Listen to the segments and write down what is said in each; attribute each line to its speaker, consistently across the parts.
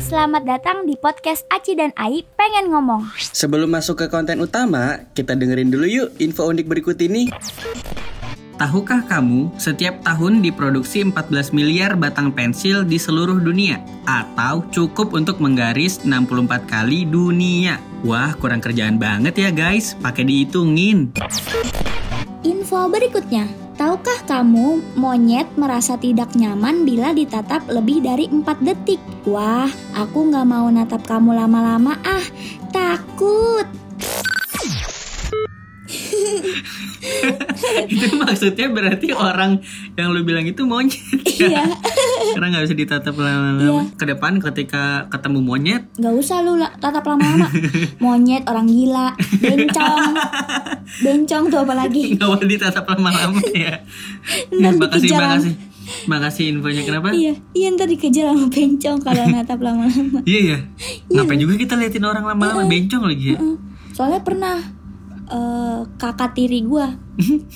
Speaker 1: Selamat datang di podcast Aci dan Ai pengen ngomong.
Speaker 2: Sebelum masuk ke konten utama, kita dengerin dulu yuk info unik berikut ini. Tahukah kamu, setiap tahun diproduksi 14 miliar batang pensil di seluruh dunia? Atau cukup untuk menggaris 64 kali dunia? Wah, kurang kerjaan banget ya guys, pakai dihitungin.
Speaker 1: Info berikutnya. Tahukah kamu monyet merasa tidak nyaman bila ditatap lebih dari 4 detik? Wah, aku nggak mau natap kamu lama-lama ah. Takut.
Speaker 2: itu maksudnya berarti orang yang lu bilang itu monyet ya?
Speaker 1: Iya,
Speaker 2: Karena nggak bisa ditatap lama-lama. Ke depan ketika ketemu monyet,
Speaker 1: nggak usah lu la- tatap lama-lama. Monyet orang gila, bencong. Bencong tuh apalagi.
Speaker 2: nggak boleh ditatap lama-lama ya.
Speaker 1: Ntar
Speaker 2: makasih,
Speaker 1: dikejar.
Speaker 2: makasih. Makasih infonya kenapa?
Speaker 1: Iya, iya ntar dikejar sama bencong kalau natap lama-lama.
Speaker 2: Iya ya. Ngapain juga kita liatin orang lama-lama
Speaker 1: Iya.
Speaker 2: bencong lagi ya?
Speaker 1: Heeh. Soalnya pernah eh, kakak tiri gua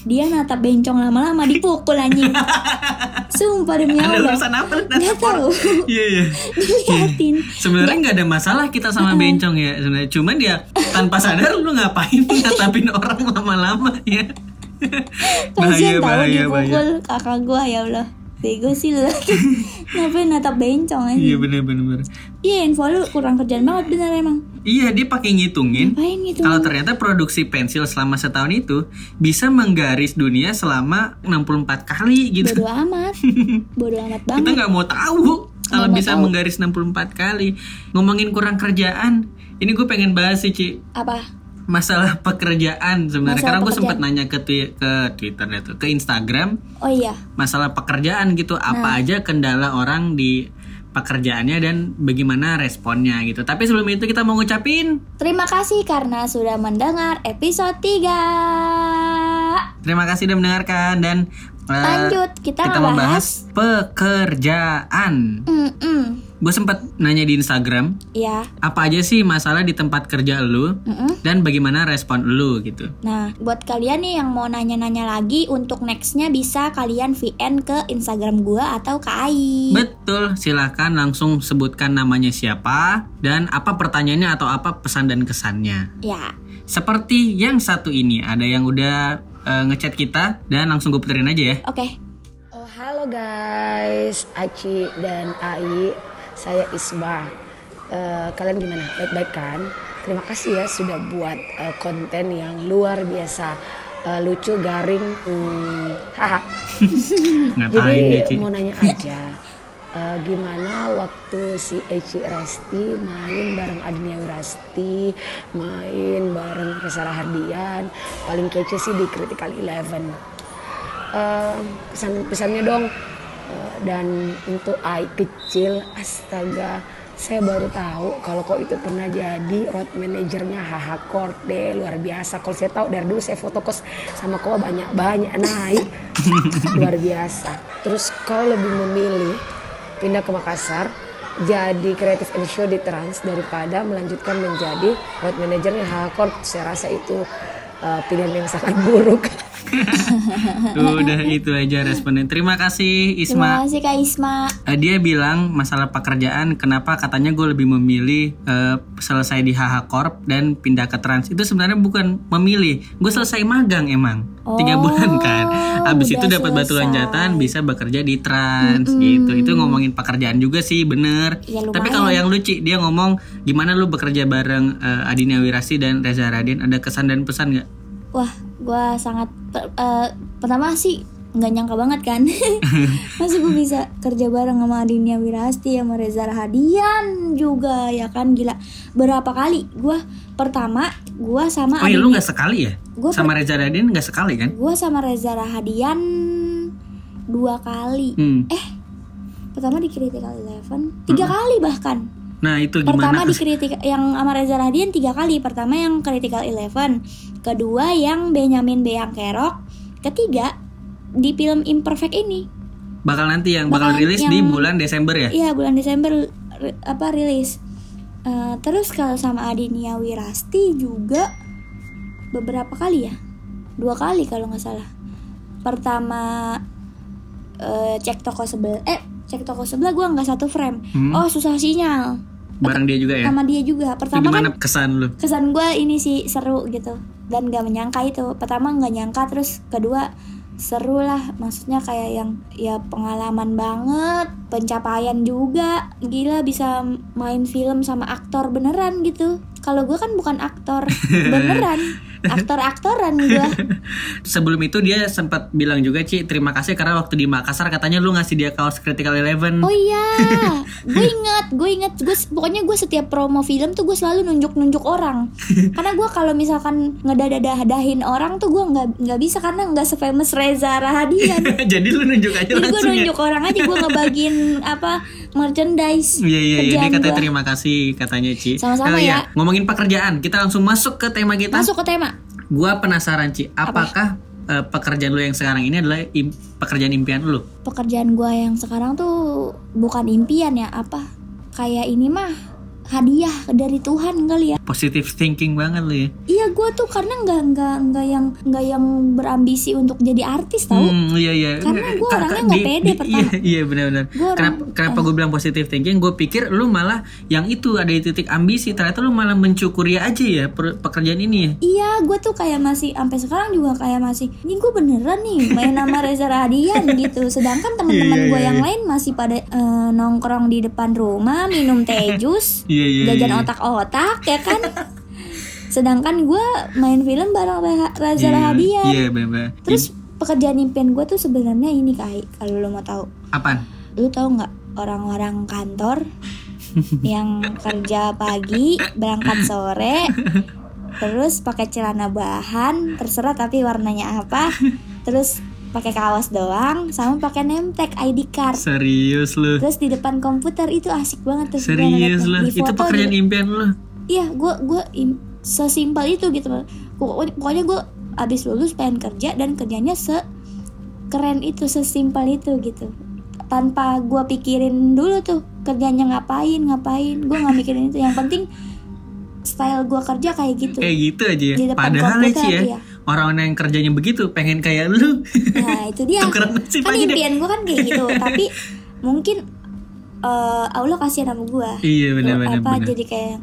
Speaker 1: dia natap bencong lama-lama dipukul anjing. Sumpah demi
Speaker 2: Ada
Speaker 1: Allah.
Speaker 2: urusan apa? lu
Speaker 1: Gak
Speaker 2: datang?
Speaker 1: tahu
Speaker 2: Iya iya.
Speaker 1: diliatin.
Speaker 2: Sebenarnya nggak ada masalah kita
Speaker 1: Iya.
Speaker 2: sama bencong ya. Sebenarnya cuman ya tanpa sadar lu
Speaker 1: Iya.
Speaker 2: ngapain ngatapin orang lama-lama ya.
Speaker 1: Kasian tahu dipukul kakak gua ya Allah. Bego sih lu. Kenapa lu natap bencong anjing?
Speaker 2: Iya bener bener. bener.
Speaker 1: Iya info lu kurang kerjaan banget bener emang.
Speaker 2: Iya dia pakai ngitungin.
Speaker 1: Ngapain gitu?
Speaker 2: Kalau ternyata produksi pensil selama setahun itu bisa menggaris dunia selama 64 kali gitu.
Speaker 1: Bodoh amat. Bodoh amat
Speaker 2: kita
Speaker 1: banget.
Speaker 2: nggak mau tahu kalau
Speaker 1: mau
Speaker 2: bisa
Speaker 1: tahu.
Speaker 2: menggaris 64 kali ngomongin kurang kerjaan ini gue pengen bahas sih Ci
Speaker 1: Apa?
Speaker 2: masalah pekerjaan sebenarnya
Speaker 1: Masalah
Speaker 2: karena gue sempat
Speaker 1: pekerjaan.
Speaker 2: nanya ke twi- ke Twitter itu ke Instagram
Speaker 1: Oh iya.
Speaker 2: masalah pekerjaan gitu
Speaker 1: Nah.
Speaker 2: apa aja kendala orang di pekerjaannya dan bagaimana responnya gitu tapi sebelum itu kita mau ngucapin
Speaker 1: Terima kasih karena sudah mendengar episode 3.
Speaker 2: terima kasih sudah mendengarkan dan eh,
Speaker 1: Lanjut, kita,
Speaker 2: kita
Speaker 1: ngebahas
Speaker 2: membahas pekerjaan
Speaker 1: Mm-mm.
Speaker 2: gue sempat nanya di Instagram
Speaker 1: Ya,
Speaker 2: apa aja sih masalah di tempat kerja lu
Speaker 1: mm-mm.
Speaker 2: dan bagaimana respon lu gitu.
Speaker 1: Nah, buat kalian nih yang mau nanya-nanya lagi Untuk nextnya bisa kalian VN ke Instagram gua atau ke AI
Speaker 3: Iya.
Speaker 2: Betul, silahkan langsung sebutkan namanya siapa dan apa pertanyaannya atau apa pesan dan kesannya.
Speaker 1: Ya,
Speaker 2: Seperti yang satu ini, ada yang udah eh, ngechat kita dan langsung gue puterin aja ya.
Speaker 1: oke
Speaker 3: Oh, halo guys, Aci dan Ai, saya Isma. Eh, kalian gimana? Baik-baik kan? Terima kasih ya sudah buat eh, konten yang luar biasa eh, lucu, garing. Hmm, haha.
Speaker 2: Ngatain
Speaker 3: Hmm, Jadi
Speaker 2: ya, Ci.
Speaker 3: mau nanya aja, eh, gimana waktu si Eci Rasti main bareng Agnia Rasti, main bareng Kesara Hardian, paling kece sih di Critical Eleven. Eh, pesan-pesannya dong. Eh, dan untuk Ai kecil, astaga, saya baru tahu kalau kok itu pernah jadi road manajernya HH Korte luar biasa. Kalau saya tahu dari dulu saya foto kos sama kau banyak banyak naik luar biasa. Terus kau lebih memilih pindah ke Makassar jadi creative and show di Trans daripada melanjutkan menjadi road manajernya HH Korte. Saya rasa itu eh, pilihan yang sangat buruk.
Speaker 2: Udah itu aja responnya. Terima kasih
Speaker 1: Terima
Speaker 2: Isma.
Speaker 1: kasih Kak Isma
Speaker 2: Eh, dia bilang masalah pekerjaan kenapa katanya gue lebih memilih eh, selesai di HH Corp dan pindah ke Trans itu sebenarnya bukan memilih gue selesai magang emang tiga
Speaker 1: Oh,
Speaker 2: bulan kan abis itu
Speaker 1: udah
Speaker 2: dapat batu
Speaker 1: selesai.
Speaker 2: loncatan bisa bekerja di Trans gitu itu ngomongin pekerjaan juga sih bener
Speaker 1: Ya, lumayan.
Speaker 2: tapi kalau yang lucu dia ngomong gimana lu bekerja bareng eh, Adina Wirasti dan Reza Radin ada kesan dan
Speaker 1: Nah,
Speaker 2: pesan nggak
Speaker 1: Wah, gua sangat per- eh, Pertama sih nggak nyangka banget kan Masih gue bisa kerja bareng sama Adinia Wirasti Sama Reza Rahadian juga Ya kan, gila Berapa kali gua pertama gua sama
Speaker 2: oh iya
Speaker 1: Adinia-
Speaker 2: lu nggak sekali ya
Speaker 1: Gua
Speaker 2: sama Reza Radin nggak sekali kan
Speaker 1: Gue sama Reza Rahadian dua kali.
Speaker 2: hmm.
Speaker 1: Pertama di Critical Eleven, tiga kali bahkan.
Speaker 2: nah itu
Speaker 1: Pertama
Speaker 2: gimana
Speaker 1: di Critical yang sama Reza Rahadian tiga kali. Pertama yang Critical Eleven, kedua yang Benyamin Beyang Kerok, ketiga di film Imperfect ini.
Speaker 2: bakal nanti yang bakal
Speaker 1: Bakal
Speaker 2: rilis di
Speaker 1: yang-
Speaker 2: bulan Desember ya
Speaker 1: Iya, bulan Desember ri- apa rilis. Eh, terus kalau sama Adinia Wirasti juga beberapa kali ya? Dua kali kalau nggak salah. Pertama eh, cek toko sebelah eh cek toko sebelah gua nggak satu frame.
Speaker 2: Hmm.
Speaker 1: Oh, susah sinyal.
Speaker 2: bareng dia juga ya
Speaker 1: sama dia juga
Speaker 2: Itu
Speaker 1: pertama
Speaker 2: gimana
Speaker 1: kan
Speaker 2: kesan lu
Speaker 1: kesan gue ini sih seru gitu dan gak menyangka itu pertama nggak nyangka terus kedua seru lah maksudnya kayak yang ya pengalaman banget pencapaian juga gila bisa main film sama aktor beneran gitu kalau gue kan bukan aktor beneran aktor aktoran gue
Speaker 2: sebelum itu dia sempat bilang juga Ci terima kasih karena waktu di Makassar katanya lu ngasih dia kaos Critical Eleven
Speaker 1: Oh iya, gue inget, gue inget, gue pokoknya gue setiap promo film tuh gue selalu nunjuk-nunjuk orang. Karena gue kalau misalkan ngedadadah-dadahin orang tuh gue nggak nggak bisa karena nggak sefamous Reza Rahadian.
Speaker 2: jadi lu nunjuk aja
Speaker 1: iya. Jadi gue
Speaker 2: langsung ya
Speaker 1: nunjuk orang aja gue ngebagiin apa merchandise.
Speaker 2: Iya iya iya dia
Speaker 1: kerjaan
Speaker 2: katanya
Speaker 1: gua.
Speaker 2: terima kasih katanya Ci
Speaker 1: Sama-sama
Speaker 2: Eh,
Speaker 1: ya.
Speaker 2: ngomongin pekerjaan kita langsung masuk ke tema kita
Speaker 1: Masuk ke tema.
Speaker 2: gua penasaran Ci apakah eh, pekerjaan lu yang sekarang ini adalah im- pekerjaan impian lu
Speaker 1: Pekerjaan gue yang sekarang tuh bukan impian ya apa? Kayak ini mah hadiah dari Tuhan kali ya.
Speaker 2: positive thinking banget lu ya
Speaker 1: Iya gue tuh karena nggak nggak nggak yang nggak yang berambisi untuk jadi artis tau.
Speaker 2: Hmm, iya iya.
Speaker 1: Karena gua
Speaker 2: Ka- ka-
Speaker 1: orangnya nggak
Speaker 2: di-
Speaker 1: pede
Speaker 2: di-
Speaker 1: pertama.
Speaker 2: Iya, iya benar-benar.
Speaker 1: Gua orang-
Speaker 2: Kenapa kenapa gue bilang positive thinking? Gue pikir lu malah yang itu ada di titik ambisi. Ternyata lu malah mencukuri aja ya per- pekerjaan ini ya.
Speaker 1: Iya gue tuh kayak masih sampai sekarang juga kayak masih ini gue beneran nih main nama Reza Radian gitu. Sedangkan
Speaker 2: Iya,
Speaker 1: teman-teman gue
Speaker 2: iya,
Speaker 1: yang
Speaker 2: iya.
Speaker 1: lain masih pada eh, nongkrong di depan rumah minum teh jus,
Speaker 2: Iya iya.
Speaker 1: jajan
Speaker 2: iya.
Speaker 1: otak-otak ya kan. Sedangkan gue main film bareng Re- Reza
Speaker 2: Iya,
Speaker 1: Radian.
Speaker 2: Iya benar.
Speaker 1: Terus pekerjaan impian gue tuh sebenarnya ini kai kalau lo mau tahu.
Speaker 2: apaan?
Speaker 1: lu tahu nggak orang-orang kantor yang kerja pagi berangkat sore terus pakai celana bahan terserah tapi warnanya apa terus pakai kaos doang sama pakai name tag ID card
Speaker 2: Serius lu.
Speaker 1: terus di depan komputer itu asik banget terus gua
Speaker 2: Serius
Speaker 1: ngeliatnya.
Speaker 2: lu.
Speaker 1: Di
Speaker 2: Itu
Speaker 1: foto
Speaker 2: pekerjaan
Speaker 1: juga-
Speaker 2: impian lu.
Speaker 1: iya gue gue sesimpel itu gitu Pokok- pokoknya gue abis lulus pengen kerja dan kerjanya se keren itu sesimpel itu gitu tanpa gue pikirin dulu tuh kerjanya ngapain ngapain gue nggak mikirin itu yang penting style gue kerja kayak gitu
Speaker 2: Kayak gitu aja ya.
Speaker 1: Di depan
Speaker 2: Padahal ya, Ci
Speaker 1: komputer,
Speaker 2: ya.
Speaker 1: iya.
Speaker 2: Orang-orang yang kerjanya begitu pengen kayak lu.
Speaker 1: nah itu dia
Speaker 2: Tukeran sih
Speaker 1: kan
Speaker 2: pagi deh.
Speaker 1: impian gue kan kayak gitu tapi mungkin eh, Allah kasihan sama gue
Speaker 2: Iya benar-benar.
Speaker 1: apa
Speaker 2: benar.
Speaker 1: jadi kayak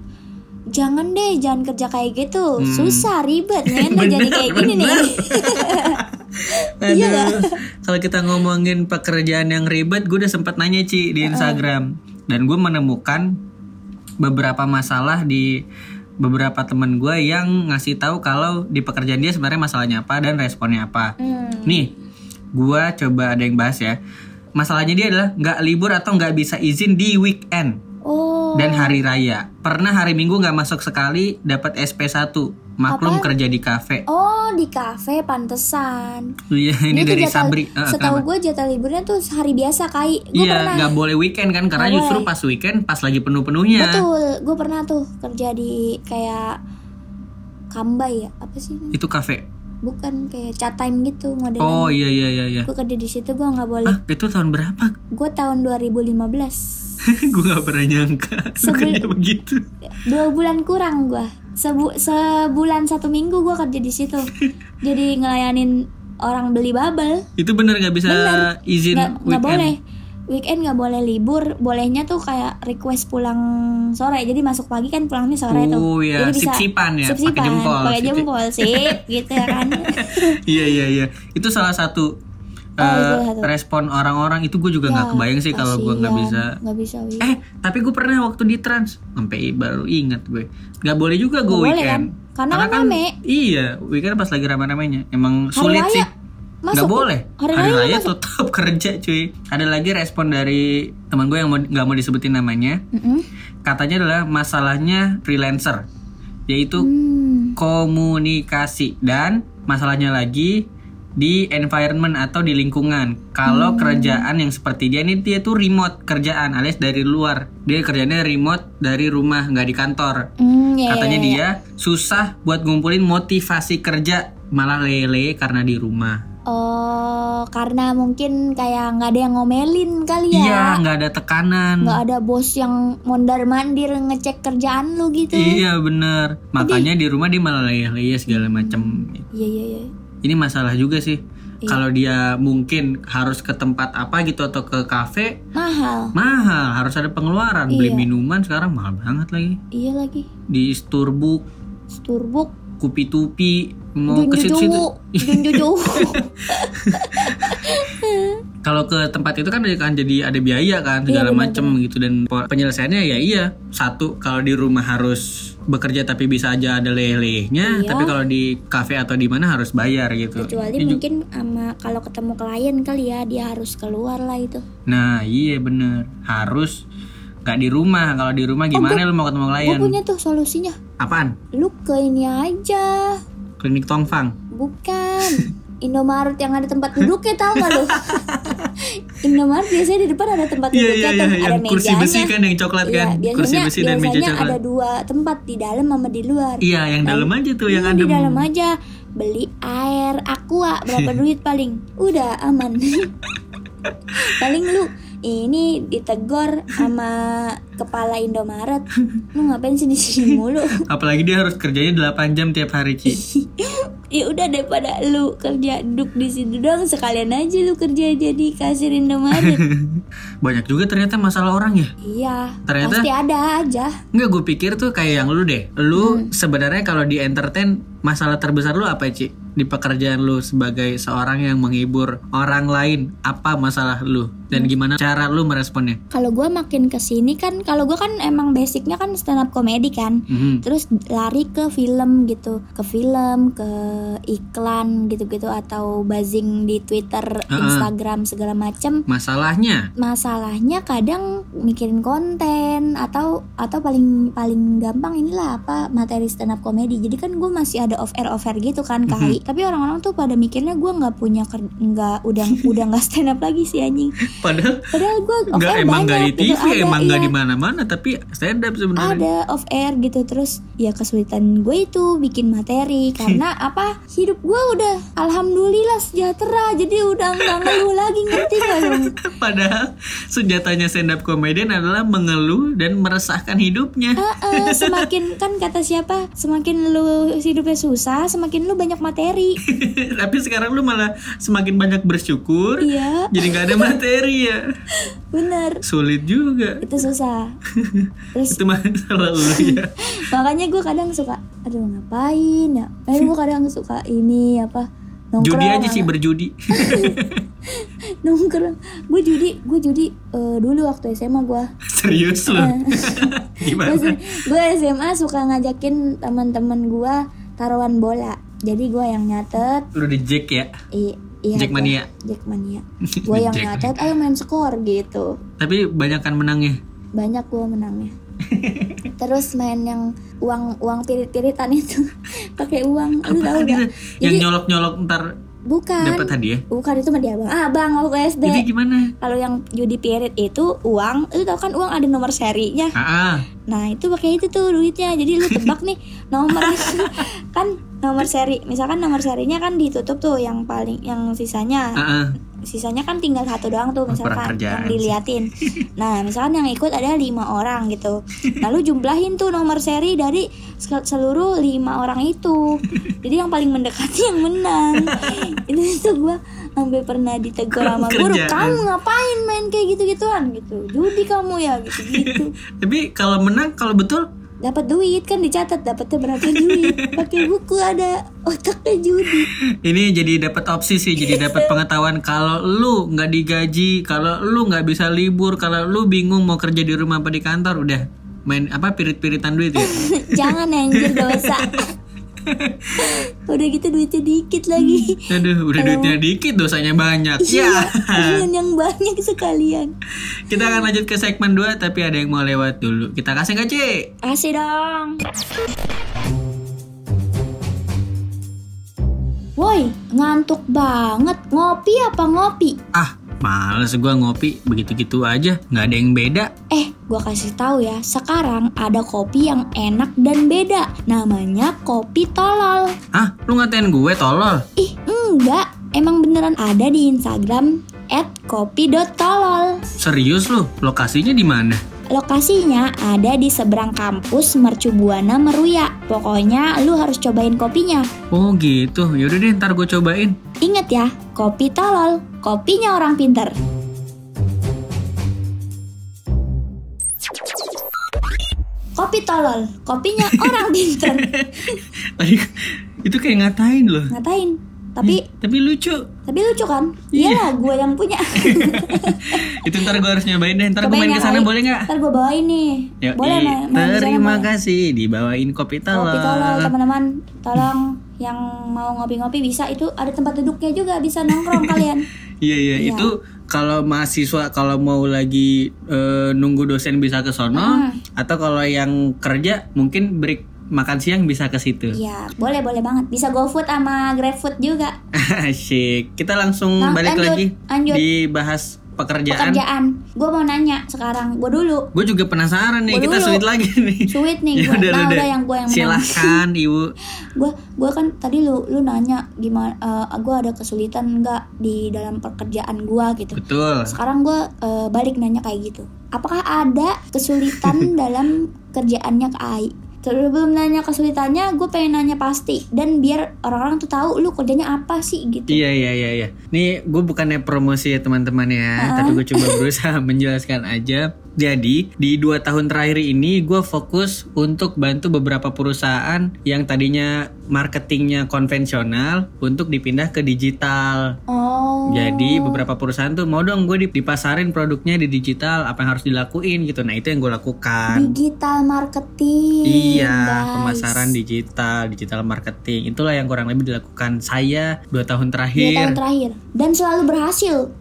Speaker 1: jangan deh jangan kerja kayak gitu
Speaker 2: Hmm.
Speaker 1: susah ribet nih jadi
Speaker 2: Bener,
Speaker 1: kayak gini nih
Speaker 2: bener.
Speaker 1: Iya nggak?
Speaker 2: Aduh, kalau kita ngomongin pekerjaan yang ribet, gue udah sempat nanya
Speaker 1: Ah.
Speaker 2: Ci di Instagram dan gue menemukan beberapa masalah di beberapa teman gue yang ngasih tahu kalau di pekerjaan dia sebenarnya masalahnya apa dan responnya apa.
Speaker 1: Hmm.
Speaker 2: Nih, gue coba ada yang bahas ya. Masalahnya dia adalah nggak libur atau nggak bisa izin di weekend
Speaker 1: oh
Speaker 2: dan hari raya. Pernah hari Minggu nggak masuk sekali, dapat SP1. Maklum
Speaker 1: Apaan?
Speaker 2: kerja di kafe.
Speaker 1: oh di kafe pantesan
Speaker 2: Iya,
Speaker 1: Oh, Dia
Speaker 2: ini
Speaker 1: tuh
Speaker 2: dari
Speaker 1: jatah-
Speaker 2: Sabri. Eh,
Speaker 1: setahu
Speaker 2: kenapa?
Speaker 1: gue jatah liburnya tuh hari biasa kai gue
Speaker 2: Iya,
Speaker 1: pernah
Speaker 2: nggak boleh weekend kan karena
Speaker 1: Nggak
Speaker 2: justru
Speaker 1: boleh.
Speaker 2: pas weekend pas lagi penuh-penuhnya.
Speaker 1: betul gue pernah tuh kerja di kayak kambai ya apa sih namanya?
Speaker 2: Itu kafe.
Speaker 1: bukan kayak chat time gitu modelnya
Speaker 2: Oh iya iya iya iya.
Speaker 1: gue kerja di situ gue nggak boleh
Speaker 2: Ah, itu tahun berapa?
Speaker 1: gue tahun 2015
Speaker 2: gue nggak pernah nyangka lu
Speaker 1: Sebel-
Speaker 2: kerja begitu.
Speaker 1: dua bulan kurang gua Sebu sebulan satu minggu gua kerja di situ jadi ngelayanin orang beli bubble
Speaker 2: Itu bener nggak bisa
Speaker 1: Bener.
Speaker 2: izin
Speaker 1: nggak nggak
Speaker 2: weekend.
Speaker 1: boleh weekend nggak boleh libur bolehnya tuh kayak request pulang sore jadi masuk pagi kan pulangnya sore tuh
Speaker 2: Oh iya,
Speaker 1: jadi bisa
Speaker 2: sip-sipan ya, pakai
Speaker 1: sip-sipan,
Speaker 2: jempol,
Speaker 1: pakai
Speaker 2: sip-sip.
Speaker 1: jempol sip gitu ya kan
Speaker 2: Iya iya iya. Itu salah satu
Speaker 1: Oh,
Speaker 2: eh,
Speaker 1: itu satu.
Speaker 2: respon orang-orang itu gue juga
Speaker 1: Ya,
Speaker 2: nggak kebayang sih kalau gue nggak
Speaker 1: kasihan,
Speaker 2: bisa.
Speaker 1: nggak bisa weekend.
Speaker 2: Eh, tapi gue pernah waktu di trans sampai baru ingat gue. Nggak boleh juga gue
Speaker 1: Nggak boleh,
Speaker 2: weekend.
Speaker 1: kan? Karena kan rame.
Speaker 2: Iya, weekend pas lagi rame-ramenya. Emang
Speaker 1: Hari
Speaker 2: sulit
Speaker 1: raya
Speaker 2: sih.
Speaker 1: masuk
Speaker 2: nggak
Speaker 1: tuh.
Speaker 2: boleh
Speaker 1: hari raya nggak masuk
Speaker 2: tetap kerja cuy ada lagi respon dari teman gue yang mau- nggak mau disebutin namanya
Speaker 1: Mm-mm.
Speaker 2: katanya adalah masalahnya freelancer yaitu
Speaker 1: Hmm.
Speaker 2: komunikasi dan masalahnya lagi di environment atau di lingkungan kalau
Speaker 1: Hmm.
Speaker 2: kerjaan yang seperti dia ini dia tuh remote kerjaan alias dari luar dia kerjanya remote dari rumah nggak di kantor
Speaker 1: Hmm, ya, ya,
Speaker 2: katanya
Speaker 1: ya, ya.
Speaker 2: dia susah buat ngumpulin motivasi kerja malah lele karena di rumah
Speaker 1: Oh, karena mungkin kayak nggak ada yang ngomelin kali
Speaker 2: Iya,
Speaker 1: ya.
Speaker 2: nggak ada tekanan.
Speaker 1: Nggak ada bos yang mondar-mandir ngecek kerjaan lu gitu.
Speaker 2: Iya bener. Makanya di rumah dia malah leyeh-leyeh segala macam.
Speaker 1: Iya, iya, iya.
Speaker 2: Ini masalah juga sih. Kalau dia mungkin harus ke tempat apa gitu atau ke kafe
Speaker 1: mahal
Speaker 2: mahal, harus ada pengeluaran. Beli
Speaker 1: Iya.
Speaker 2: minuman sekarang mahal banget lagi.
Speaker 1: iya lagi
Speaker 2: Di Sturbuk,
Speaker 1: Sturbuk
Speaker 2: Kupi Tupi, mau ke situ-situ. Iya.
Speaker 1: Junjuju Junjuju
Speaker 2: Kalau ke tempat itu kan kan jadi ada biaya kan segala
Speaker 1: Iya,
Speaker 2: macem gitu dan po- penyelesaiannya ya iya satu kalau di rumah harus bekerja tapi bisa aja ada
Speaker 1: Iya.
Speaker 2: lelehnya tapi kalau di kafe atau di mana harus bayar gitu.
Speaker 1: kecuali
Speaker 2: Ini ju-
Speaker 1: mungkin sama kalau ketemu klien kali ya dia harus keluar lah itu
Speaker 2: Nah iya bener harus nggak di rumah kalau di rumah gimana lu mau ketemu
Speaker 1: gue
Speaker 2: klien?
Speaker 1: Oh, punya tuh solusinya
Speaker 2: Apaan?
Speaker 1: lu ke ini aja
Speaker 2: Klinik Tongfang.
Speaker 1: bukan Indomaret yang ada tempat duduknya tau gak lu Indomaret biasanya di depan ada tempat
Speaker 2: Iya
Speaker 1: duduknya
Speaker 2: iya
Speaker 1: tuh,
Speaker 2: iya
Speaker 1: ada
Speaker 2: yang
Speaker 1: mejanya
Speaker 2: kursi besi kan yang coklat
Speaker 1: Iya,
Speaker 2: kan
Speaker 1: biasanya,
Speaker 2: kursi besi dan meja
Speaker 1: biasanya ada
Speaker 2: coklat.
Speaker 1: dua tempat di dalam sama di luar
Speaker 2: Iya yang dalam aja tuh yang
Speaker 1: Iya,
Speaker 2: adem.
Speaker 1: di dalam aja beli air aqua berapa duit paling udah aman paling lu ini ditegor sama kepala Indomaret lu ngapain sih di sini mulu
Speaker 2: Apalagi dia harus kerjanya 8 jam tiap hari Ci.
Speaker 1: ya udah daripada lu kerja duduk di situ dong sekalian aja lu kerja jadi kasir Indomaret
Speaker 2: Banyak juga ternyata masalah orang ya.
Speaker 1: iya
Speaker 2: Ternyata-
Speaker 1: pasti ada aja
Speaker 2: Enggak gue pikir tuh kayak yang lu deh. Lu
Speaker 1: Hmm.
Speaker 2: sebenarnya kalau di entertain masalah terbesar lu apa Ci? Di pekerjaan lu sebagai seorang yang menghibur orang lain, apa masalah lu dan
Speaker 1: Hmm.
Speaker 2: gimana cara lu meresponnya?
Speaker 1: kalau gua makin kesini kan kalau gua kan emang basicnya kan stand up comedy kan
Speaker 2: Mhm.
Speaker 1: terus lari ke film gitu ke film ke iklan gitu-gitu atau buzzing di Twitter, Instagram segala macem
Speaker 2: Masalahnya
Speaker 1: masalahnya kadang mikirin konten atau atau paling paling gampang inilah apa materi stand up comedy jadi kan gue masih ada off air off air gitu kan
Speaker 2: Mhm.
Speaker 1: kai tapi orang-orang tuh pada mikirnya gue nggak punya ker- nggak udah udah nggak stand up lagi sih anjing
Speaker 2: padahal
Speaker 1: padahal gue off
Speaker 2: nggak
Speaker 1: air
Speaker 2: emang nggak di
Speaker 1: banyak
Speaker 2: TV,
Speaker 1: gitu. Oh, Ada,
Speaker 2: emang nggak
Speaker 1: iya
Speaker 2: di mana-mana, tapi stand up sebenarnya.
Speaker 1: ada off air gitu terus ya kesulitan gue itu bikin materi karena apa hidup gue udah alhamdulillah sejahtera jadi udah nggak ngeluh lagi ngerti gak lu
Speaker 2: Padahal senjatanya stand up comedian adalah mengeluh dan meresahkan hidupnya.
Speaker 1: Heeh, semakin kan kata siapa semakin lu hidupnya susah semakin lu banyak materi
Speaker 2: tapi sekarang lu malah semakin banyak bersyukur,
Speaker 1: iya
Speaker 2: jadi nggak ada materi ya.
Speaker 1: bener
Speaker 2: Sulit juga.
Speaker 1: itu susah terus
Speaker 2: itu masalah lu ya
Speaker 1: makanya gue kadang suka aduh ngapain ya eh gue kadang suka ini apa nongkrong
Speaker 2: judi aja sih
Speaker 1: sama-
Speaker 2: berjudi
Speaker 1: nongkrong gue judi gue judi eh, dulu waktu SMA gue
Speaker 2: serius lu gimana
Speaker 1: gue SMA suka ngajakin teman-teman gue taruhan bola jadi gue yang nyatet
Speaker 2: lu di jack ya
Speaker 1: i- iya
Speaker 2: Jackmania.
Speaker 1: Jackmania gue yang
Speaker 2: Jack.
Speaker 1: nyatet ayo main skor gitu
Speaker 2: tapi banyakan menangnya
Speaker 1: banyak gue menangnya terus main yang uang uang pirit-piritan itu pakai uang lu tau gak
Speaker 2: Apaan itu? yang
Speaker 1: Jadi- Ah.
Speaker 2: nyolok nyolok ntar
Speaker 1: bukan
Speaker 2: dapat hadiah
Speaker 1: bukan itu mah dia abang abang waktu SD
Speaker 2: jadi gimana
Speaker 1: kalau yang judi pirit itu uang lu tau kan uang ada nomor serinya
Speaker 2: ah, ah.
Speaker 1: Nah itu pakai itu tuh duitnya Jadi lu tebak nih nomor Kan nomor seri Misalkan nomor serinya kan ditutup tuh Yang paling yang
Speaker 2: ah,
Speaker 1: sisanya
Speaker 2: ah.
Speaker 1: Sisanya kan tinggal satu doang tuh
Speaker 2: Kurang
Speaker 1: Misalkan
Speaker 2: kerjaan
Speaker 1: yang
Speaker 2: sih.
Speaker 1: diliatin Nah misalkan yang ikut ada lima orang gitu Lalu jumlahin tuh nomor seri dari sel- seluruh lima orang itu Jadi yang paling mendekati yang menang Itu tuh gue sampai pernah ditegur sama
Speaker 2: Kurang
Speaker 1: guru
Speaker 2: kerjaan.
Speaker 1: Kamu ngapain main kayak gitu-gituan gitu Judi kamu ya gitu-gitu
Speaker 2: tapi kalau menang kalau betul
Speaker 1: dapat duit kan dicatat dapatnya berapa duit pakai buku ada otaknya judi
Speaker 2: ini jadi dapat opsi sih jadi dapat pengetahuan kalau lu nggak digaji kalau lu nggak bisa libur kalau lu bingung mau kerja di rumah apa di kantor udah main apa pirit-piritan duit ya
Speaker 1: jangan anjir dosa udah gitu duitnya dikit lagi
Speaker 2: aduh udah duitnya dikit dosanya banyak
Speaker 1: Iya.
Speaker 2: ya
Speaker 1: Kalian yang banyak sekalian
Speaker 2: Kita akan lanjut ke segmen 2 tapi ada yang mau lewat dulu. Kita kasih nggak, Ci?
Speaker 1: kasih dong woi ngantuk banget ngopi apa ngopi
Speaker 2: Ah, males gua ngopi begitu-gitu aja, nggak ada yang beda.
Speaker 1: Eh, gua kasih tahu ya, sekarang ada kopi yang enak dan beda. Namanya kopi tolol.
Speaker 2: Ah, lu ngatain gue tolol.
Speaker 1: Ih, enggak. Emang beneran ada di Instagram @kopi.tolol.
Speaker 2: Serius lu? Lokasinya di mana?
Speaker 1: Lokasinya ada di seberang kampus Mercubuana Meruya. Pokoknya lu harus cobain kopinya.
Speaker 2: Oh gitu, yaudah deh ntar gue cobain
Speaker 1: Ingat ya, Kopi tolol, kopinya orang pintar. Kopi tolol, kopinya orang pintar.
Speaker 2: Tadi itu kayak ngatain loh.
Speaker 1: Ngatain. Tapi
Speaker 2: Tapi lucu.
Speaker 1: tapi lucu kan? Iya, gue yang punya.
Speaker 2: Itu ntar gue harus nyobain deh. Ntar gue
Speaker 1: Cobain
Speaker 2: main
Speaker 1: ya,
Speaker 2: ke sana
Speaker 1: Ai.
Speaker 2: boleh nggak?
Speaker 1: Ntar gue bawain nih.
Speaker 2: Yoi.
Speaker 1: boleh main, main di sana,
Speaker 2: Terima
Speaker 1: boleh.
Speaker 2: kasih dibawain kopi
Speaker 1: Kopi tolol
Speaker 2: tolol.
Speaker 1: teman-teman, tolong yang mau ngopi-ngopi bisa itu ada tempat duduknya juga bisa nongkrong kalian.
Speaker 2: Iya iya
Speaker 1: Iya.
Speaker 2: itu kalau mahasiswa kalau mau lagi eh, nunggu dosen bisa ke sono atau kalau yang kerja mungkin break makan siang bisa ke situ.
Speaker 1: Iya, boleh boleh banget. Bisa GoFood sama GrabFood juga.
Speaker 2: Asik. Kita langsung
Speaker 1: Lang-
Speaker 2: balik
Speaker 1: Nah, lanjut,
Speaker 2: lagi
Speaker 1: lanjut.
Speaker 2: dibahas pekerjaan.
Speaker 1: Pekerjaan. Gue mau nanya sekarang, gue dulu.
Speaker 2: Gue juga penasaran nih,
Speaker 1: Gua
Speaker 2: kita
Speaker 1: dulu.
Speaker 2: sulit lagi nih.
Speaker 1: Sweet nih,
Speaker 2: Ya
Speaker 1: gue.
Speaker 2: udah,
Speaker 1: Nah,
Speaker 2: udah.
Speaker 1: udah yang gue yang menang.
Speaker 2: Silahkan, Ibu.
Speaker 1: Gue gue kan tadi lu lu nanya gimana gue ada kesulitan nggak di dalam pekerjaan gue gitu.
Speaker 2: Betul.
Speaker 1: Sekarang gue balik nanya kayak gitu. Apakah ada kesulitan dalam kerjaannya ke AI? Sebelum nanya kesulitannya, gue pengen nanya pasti dan biar orang-orang tuh tahu lu kerjanya apa sih gitu.
Speaker 2: Iya iya iya iya. Nih gue bukannya promosi ya teman-teman ya, tapi gue coba berusaha menjelaskan aja. Jadi di dua tahun terakhir ini gue fokus untuk bantu beberapa perusahaan yang tadinya marketingnya konvensional untuk dipindah ke digital.
Speaker 1: Oh.
Speaker 2: Jadi beberapa perusahaan tuh mau dong gue dipasarin produknya di digital apa yang harus dilakuin gitu. Nah itu yang gue lakukan.
Speaker 1: Digital marketing.
Speaker 2: Iya,
Speaker 1: guys. Iya,
Speaker 2: pemasaran digital, digital marketing. Itulah yang kurang lebih dilakukan saya dua tahun
Speaker 1: Dua tahun
Speaker 2: terakhir.
Speaker 1: terakhir dan selalu berhasil.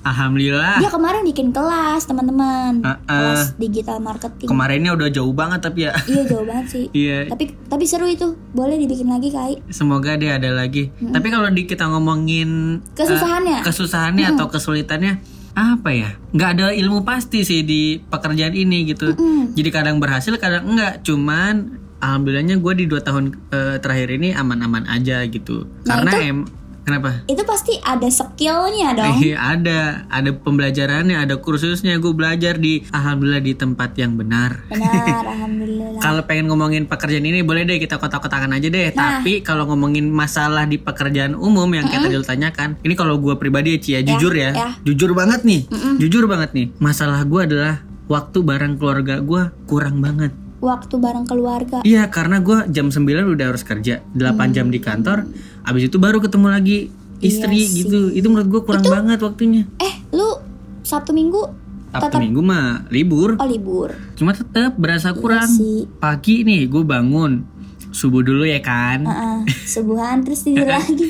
Speaker 2: Alhamdulillah.
Speaker 1: Dia kemarin bikin kelas teman-teman,
Speaker 2: Ah, ah.
Speaker 1: kelas digital marketing.
Speaker 2: Kemarinnya udah jauh banget tapi ya.
Speaker 1: Iya jauh banget sih.
Speaker 2: Iya.
Speaker 1: tapi tapi seru itu, boleh dibikin lagi kai.
Speaker 2: Semoga dia ada lagi. Tapi kalau di kita ngomongin eh,
Speaker 1: Kesusahannya?
Speaker 2: kesusahannya atau kesulitannya apa ya? Nggak ada ilmu pasti sih di pekerjaan ini gitu.
Speaker 1: Mm.
Speaker 2: Jadi kadang berhasil, kadang enggak. Cuman alhamdulillahnya gue di dua tahun eh, terakhir ini aman-aman aja gitu.
Speaker 1: Nah,
Speaker 2: Karena
Speaker 1: itu-
Speaker 2: em kenapa?
Speaker 1: Itu pasti ada skillnya dong.
Speaker 2: Eh, ada, ada pembelajarannya, ada kursusnya. Gue belajar di alhamdulillah di tempat yang benar.
Speaker 1: Benar, alhamdulillah.
Speaker 2: Kalau pengen ngomongin pekerjaan ini boleh deh kita kotak-kotakan aja deh. Tapi kalau ngomongin masalah di pekerjaan umum yang kayak tadi lu tanyakan, ini kalau gue pribadi ya Ci ya, jujur ya,
Speaker 1: ya.
Speaker 2: jujur banget nih, jujur banget nih. Masalah gue adalah waktu bareng keluarga gue kurang banget.
Speaker 1: Waktu bareng keluarga.
Speaker 2: Iya karena gue jam 9 udah harus kerja 8 jam di kantor Abis itu baru ketemu lagi istri gitu Itu menurut gue kurang banget waktunya
Speaker 1: Eh, lu Sabtu Minggu
Speaker 2: Sabtu Minggu mah libur
Speaker 1: oh libur.
Speaker 2: Cuma tetap berasa kurang
Speaker 1: sih.
Speaker 2: Pagi nih gue bangun Subuh dulu ya kan
Speaker 1: Ah, subuhan terus tidur lagi.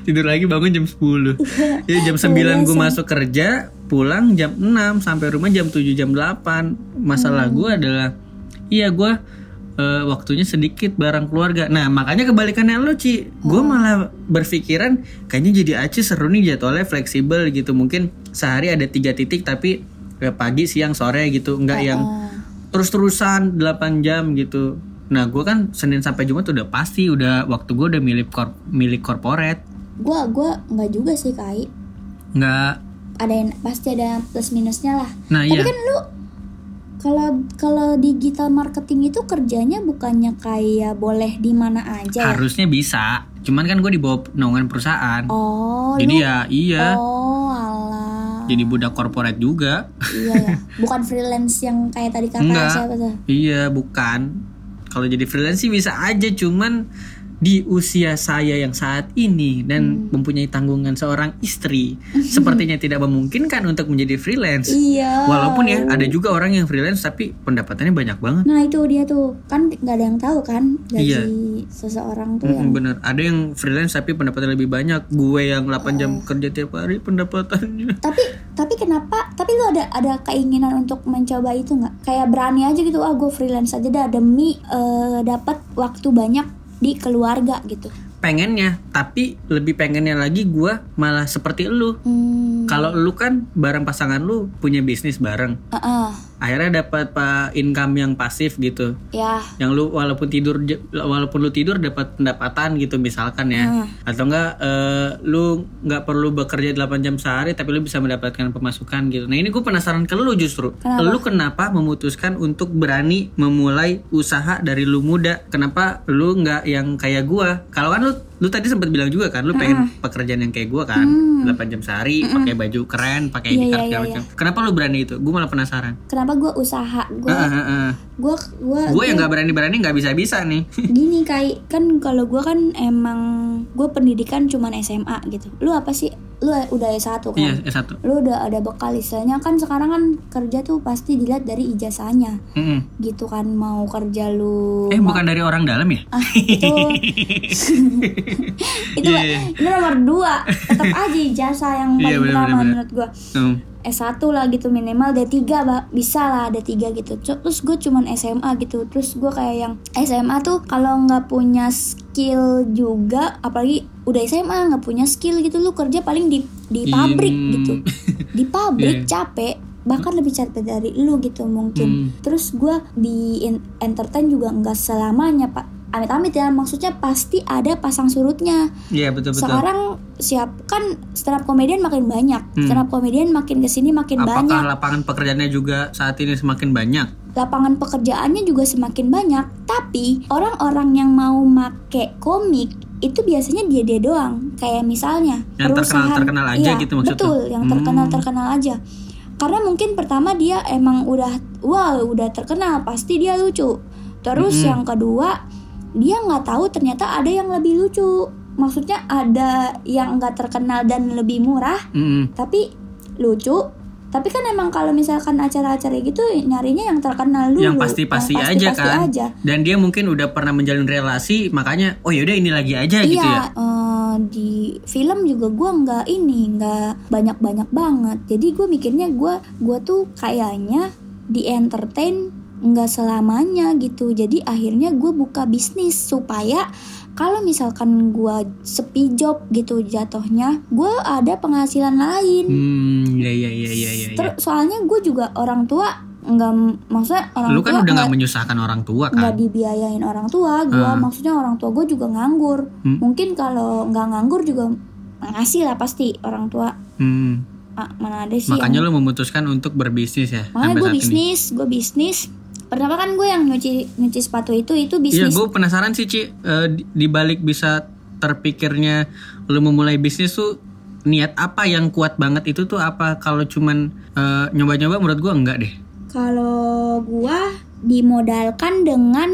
Speaker 2: Tidur lagi bangun jam 10 ya, Jam 9 gue masuk kerja Pulang jam 6 Sampai rumah jam 7 jam 8 Masalah gue adalah Iya gue eh, waktunya sedikit bareng keluarga. Nah makanya kebalikannya lo Ci, gue malah berpikiran kayaknya jadi Aci seru nih jadwalnya fleksibel gitu. Mungkin sehari ada tiga titik tapi eh, pagi, siang, sore gitu. Enggak yang
Speaker 1: Oh, Eh,
Speaker 2: terus-terusan 8 jam gitu. Nah, gue kan Senin sampai Jumat udah pasti udah waktu gue udah milik kor- milik korporat.
Speaker 1: Gua gua nggak juga sih kai.
Speaker 2: Nggak
Speaker 1: Ada yang pasti ada plus minusnya lah.
Speaker 2: Nah,
Speaker 1: Tapi
Speaker 2: iya.
Speaker 1: kan lu kalau kalau digital marketing itu kerjanya bukannya kayak boleh di mana aja ya?
Speaker 2: harusnya bisa. Cuman kan gue dibawa naungan perusahaan.
Speaker 1: Oh,
Speaker 2: Jadi
Speaker 1: lu-
Speaker 2: ya iya,
Speaker 1: Oh, alah.
Speaker 2: jadi budak korporat juga.
Speaker 1: iya ya. Bukan freelance yang kayak tadi kakak
Speaker 2: Enggak.
Speaker 1: siapa tuh?
Speaker 2: iya, bukan. Kalau jadi freelance sih bisa aja, cuman di usia saya yang saat
Speaker 1: Hmm.
Speaker 2: ini dan mempunyai tanggungan seorang istri, sepertinya tidak memungkinkan untuk menjadi freelance.
Speaker 1: Iya.
Speaker 2: Walaupun ya ada juga orang yang freelance tapi pendapatannya banyak banget.
Speaker 1: Nah, itu dia tuh. Kan nggak ada yang tahu kan gaji
Speaker 2: Iya.
Speaker 1: seseorang tuh yang
Speaker 2: Mm, Bener, ada yang freelance tapi pendapatannya lebih banyak. Gue yang 8
Speaker 1: Oh.
Speaker 2: jam kerja tiap hari pendapatannya.
Speaker 1: tapi tapi kenapa tapi lu ada ada keinginan untuk mencoba itu nggak kayak berani aja gitu ah gue freelance aja dah demi eh, dapat waktu banyak di keluarga gitu
Speaker 2: Pengennya, tapi lebih pengennya lagi gue malah seperti lu.
Speaker 1: hmm,
Speaker 2: Kalau lu kan bareng pasangan lu punya bisnis bareng,
Speaker 1: ah, ah,
Speaker 2: akhirnya dapat pak income yang pasif gitu.
Speaker 1: ya
Speaker 2: Yang lu walaupun tidur je- walaupun lu tidur dapat pendapatan gitu misalkan ya.
Speaker 1: Hmm.
Speaker 2: Atau enggak eh, lu nggak perlu bekerja 8 jam sehari tapi lu bisa mendapatkan pemasukan gitu. Nah, ini gue penasaran ke lu justru.
Speaker 1: Kenapa?
Speaker 2: Lu kenapa memutuskan untuk berani memulai usaha dari lu muda? Kenapa lu nggak yang kayak gua? Kalau kan lu Lu tadi sempat bilang juga kan, lu pengen
Speaker 1: Hmm.
Speaker 2: pekerjaan yang kayak gua kan, 8 jam sehari, pakai baju keren, pakai
Speaker 1: Iya,
Speaker 2: ini
Speaker 1: Hmm. iya,
Speaker 2: segala
Speaker 1: iya,
Speaker 2: macam. Kenapa lu berani itu? Gua malah penasaran.
Speaker 1: Kenapa gue usaha? Gue
Speaker 2: Heeh, heeh.
Speaker 1: gue gue
Speaker 2: Gue Ah. yang nggak berani-berani nggak bisa-bisa nih.
Speaker 1: gini kayak kan kalau gue kan emang gue pendidikan cuman SMA gitu. Lu apa sih? Lu udah S1 kan?
Speaker 2: Iya, S1.
Speaker 1: Lu udah ada bekal istilahnya kan sekarang kan kerja tuh pasti dilihat dari ijazahnya
Speaker 2: Mm-mm.
Speaker 1: gitu kan mau kerja lu
Speaker 2: Eh,
Speaker 1: mau-
Speaker 2: bukan dari orang dalam ya?
Speaker 1: Ah, itu itu
Speaker 2: Iya,
Speaker 1: itu nomor dua tetap aja ijazah yang
Speaker 2: Iya,
Speaker 1: paling
Speaker 2: bener,
Speaker 1: utama
Speaker 2: bener, bener.
Speaker 1: menurut gue
Speaker 2: Hmm.
Speaker 1: S1 lah gitu minimal D3 ba- bisa lah D3 gitu Co- terus gue cuman SMA gitu terus gue kayak yang SMA tuh kalau nggak punya skill juga apalagi udah SMA nggak punya skill gitu lu kerja paling di di
Speaker 2: Iya.
Speaker 1: pabrik gitu di pabrik
Speaker 2: Iya.
Speaker 1: capek bahkan lebih capek dari lu gitu
Speaker 2: Hmm.
Speaker 1: mungkin terus gue di in- entertain juga nggak selamanya pak amit-amit ya maksudnya pasti ada pasang surutnya
Speaker 2: Iya, betul-betul.
Speaker 1: sekarang siap kan stand up comedian makin banyak
Speaker 2: Hmm.
Speaker 1: stand up comedian makin kesini makin
Speaker 2: Apakah
Speaker 1: banyak
Speaker 2: lapangan pekerjaannya juga saat ini semakin banyak?
Speaker 1: lapangan pekerjaannya juga semakin banyak tapi orang-orang yang mau make komik itu biasanya dia dia doang kayak misalnya
Speaker 2: Yang terkenal-terkenal aja
Speaker 1: iya,
Speaker 2: gitu maksud
Speaker 1: betul
Speaker 2: lu?
Speaker 1: yang
Speaker 2: Hmm.
Speaker 1: terkenal terkenal aja karena mungkin pertama dia emang udah wah udah terkenal pasti dia lucu terus
Speaker 2: Mm-mm.
Speaker 1: yang kedua dia nggak tahu ternyata ada yang lebih lucu maksudnya ada yang nggak terkenal dan lebih murah
Speaker 2: Mm-mm.
Speaker 1: tapi lucu tapi kan emang kalau misalkan acara-acara gitu nyarinya yang terkenal dulu
Speaker 2: yang pasti-pasti
Speaker 1: Yang
Speaker 2: aja
Speaker 1: pasti-pasti
Speaker 2: kan.
Speaker 1: aja.
Speaker 2: Dan dia mungkin udah pernah menjalin relasi, makanya oh yaudah ini lagi aja gitu ya.
Speaker 1: iya eh, di film juga gua nggak ini nggak banyak-banyak banget jadi gue mikirnya gua gua tuh kayaknya di entertain nggak selamanya gitu jadi akhirnya gue buka bisnis supaya kalau misalkan gua sepi job gitu jatuhnya gue ada penghasilan lain
Speaker 2: Hmm, ya ya ya ya ya. ya.
Speaker 1: Terus soalnya gue juga orang tua nggak maksudnya orang
Speaker 2: Lu kan
Speaker 1: tua
Speaker 2: udah nggak
Speaker 1: nggak-
Speaker 2: menyusahkan orang tua
Speaker 1: nggak
Speaker 2: kan?
Speaker 1: dibiayain orang tua gue
Speaker 2: Ah.
Speaker 1: maksudnya orang tua gue juga nganggur
Speaker 2: Hmm.
Speaker 1: mungkin kalau nggak nganggur juga ngasih lah pasti orang tua
Speaker 2: Hmm.
Speaker 1: Ah, mana ada sih
Speaker 2: Makanya
Speaker 1: yang-
Speaker 2: lu memutuskan untuk berbisnis ya
Speaker 1: makanya
Speaker 2: sampai
Speaker 1: gue
Speaker 2: saat ini.
Speaker 1: bisnis gue bisnis pertama kan gue yang nyuci nyuci sepatu itu itu
Speaker 2: Iya,
Speaker 1: bisnis
Speaker 2: gue penasaran sih Ci, Eh, di dibalik bisa terpikirnya lu memulai bisnis tuh niat apa yang kuat banget itu tuh apa? Kalau cuman eh, nyoba-nyoba menurut gua enggak deh.
Speaker 1: kalau gue dimodalkan dengan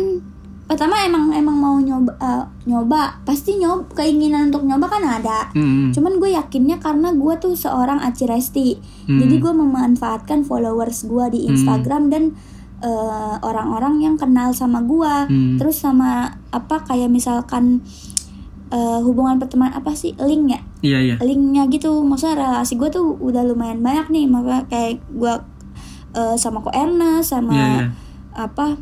Speaker 1: pertama emang emang mau nyoba eh, nyoba pasti nyoba keinginan untuk nyoba kan ada
Speaker 2: Hmm,
Speaker 1: Cuman gue yakinnya karena gue tuh seorang Aci Resti
Speaker 2: Hmm.
Speaker 1: Jadi gue memanfaatkan followers gue di Instagram dan eh, orang-orang yang kenal sama gue
Speaker 2: Hmm.
Speaker 1: Terus sama apa kayak misalkan eh, hubungan pertemanan apa sih link ya
Speaker 2: Iya iya.
Speaker 1: linknya gitu maksudnya relasi gue tuh udah lumayan banyak nih maka kayak gue eh, sama ko Erna sama
Speaker 2: Iya iya.
Speaker 1: apa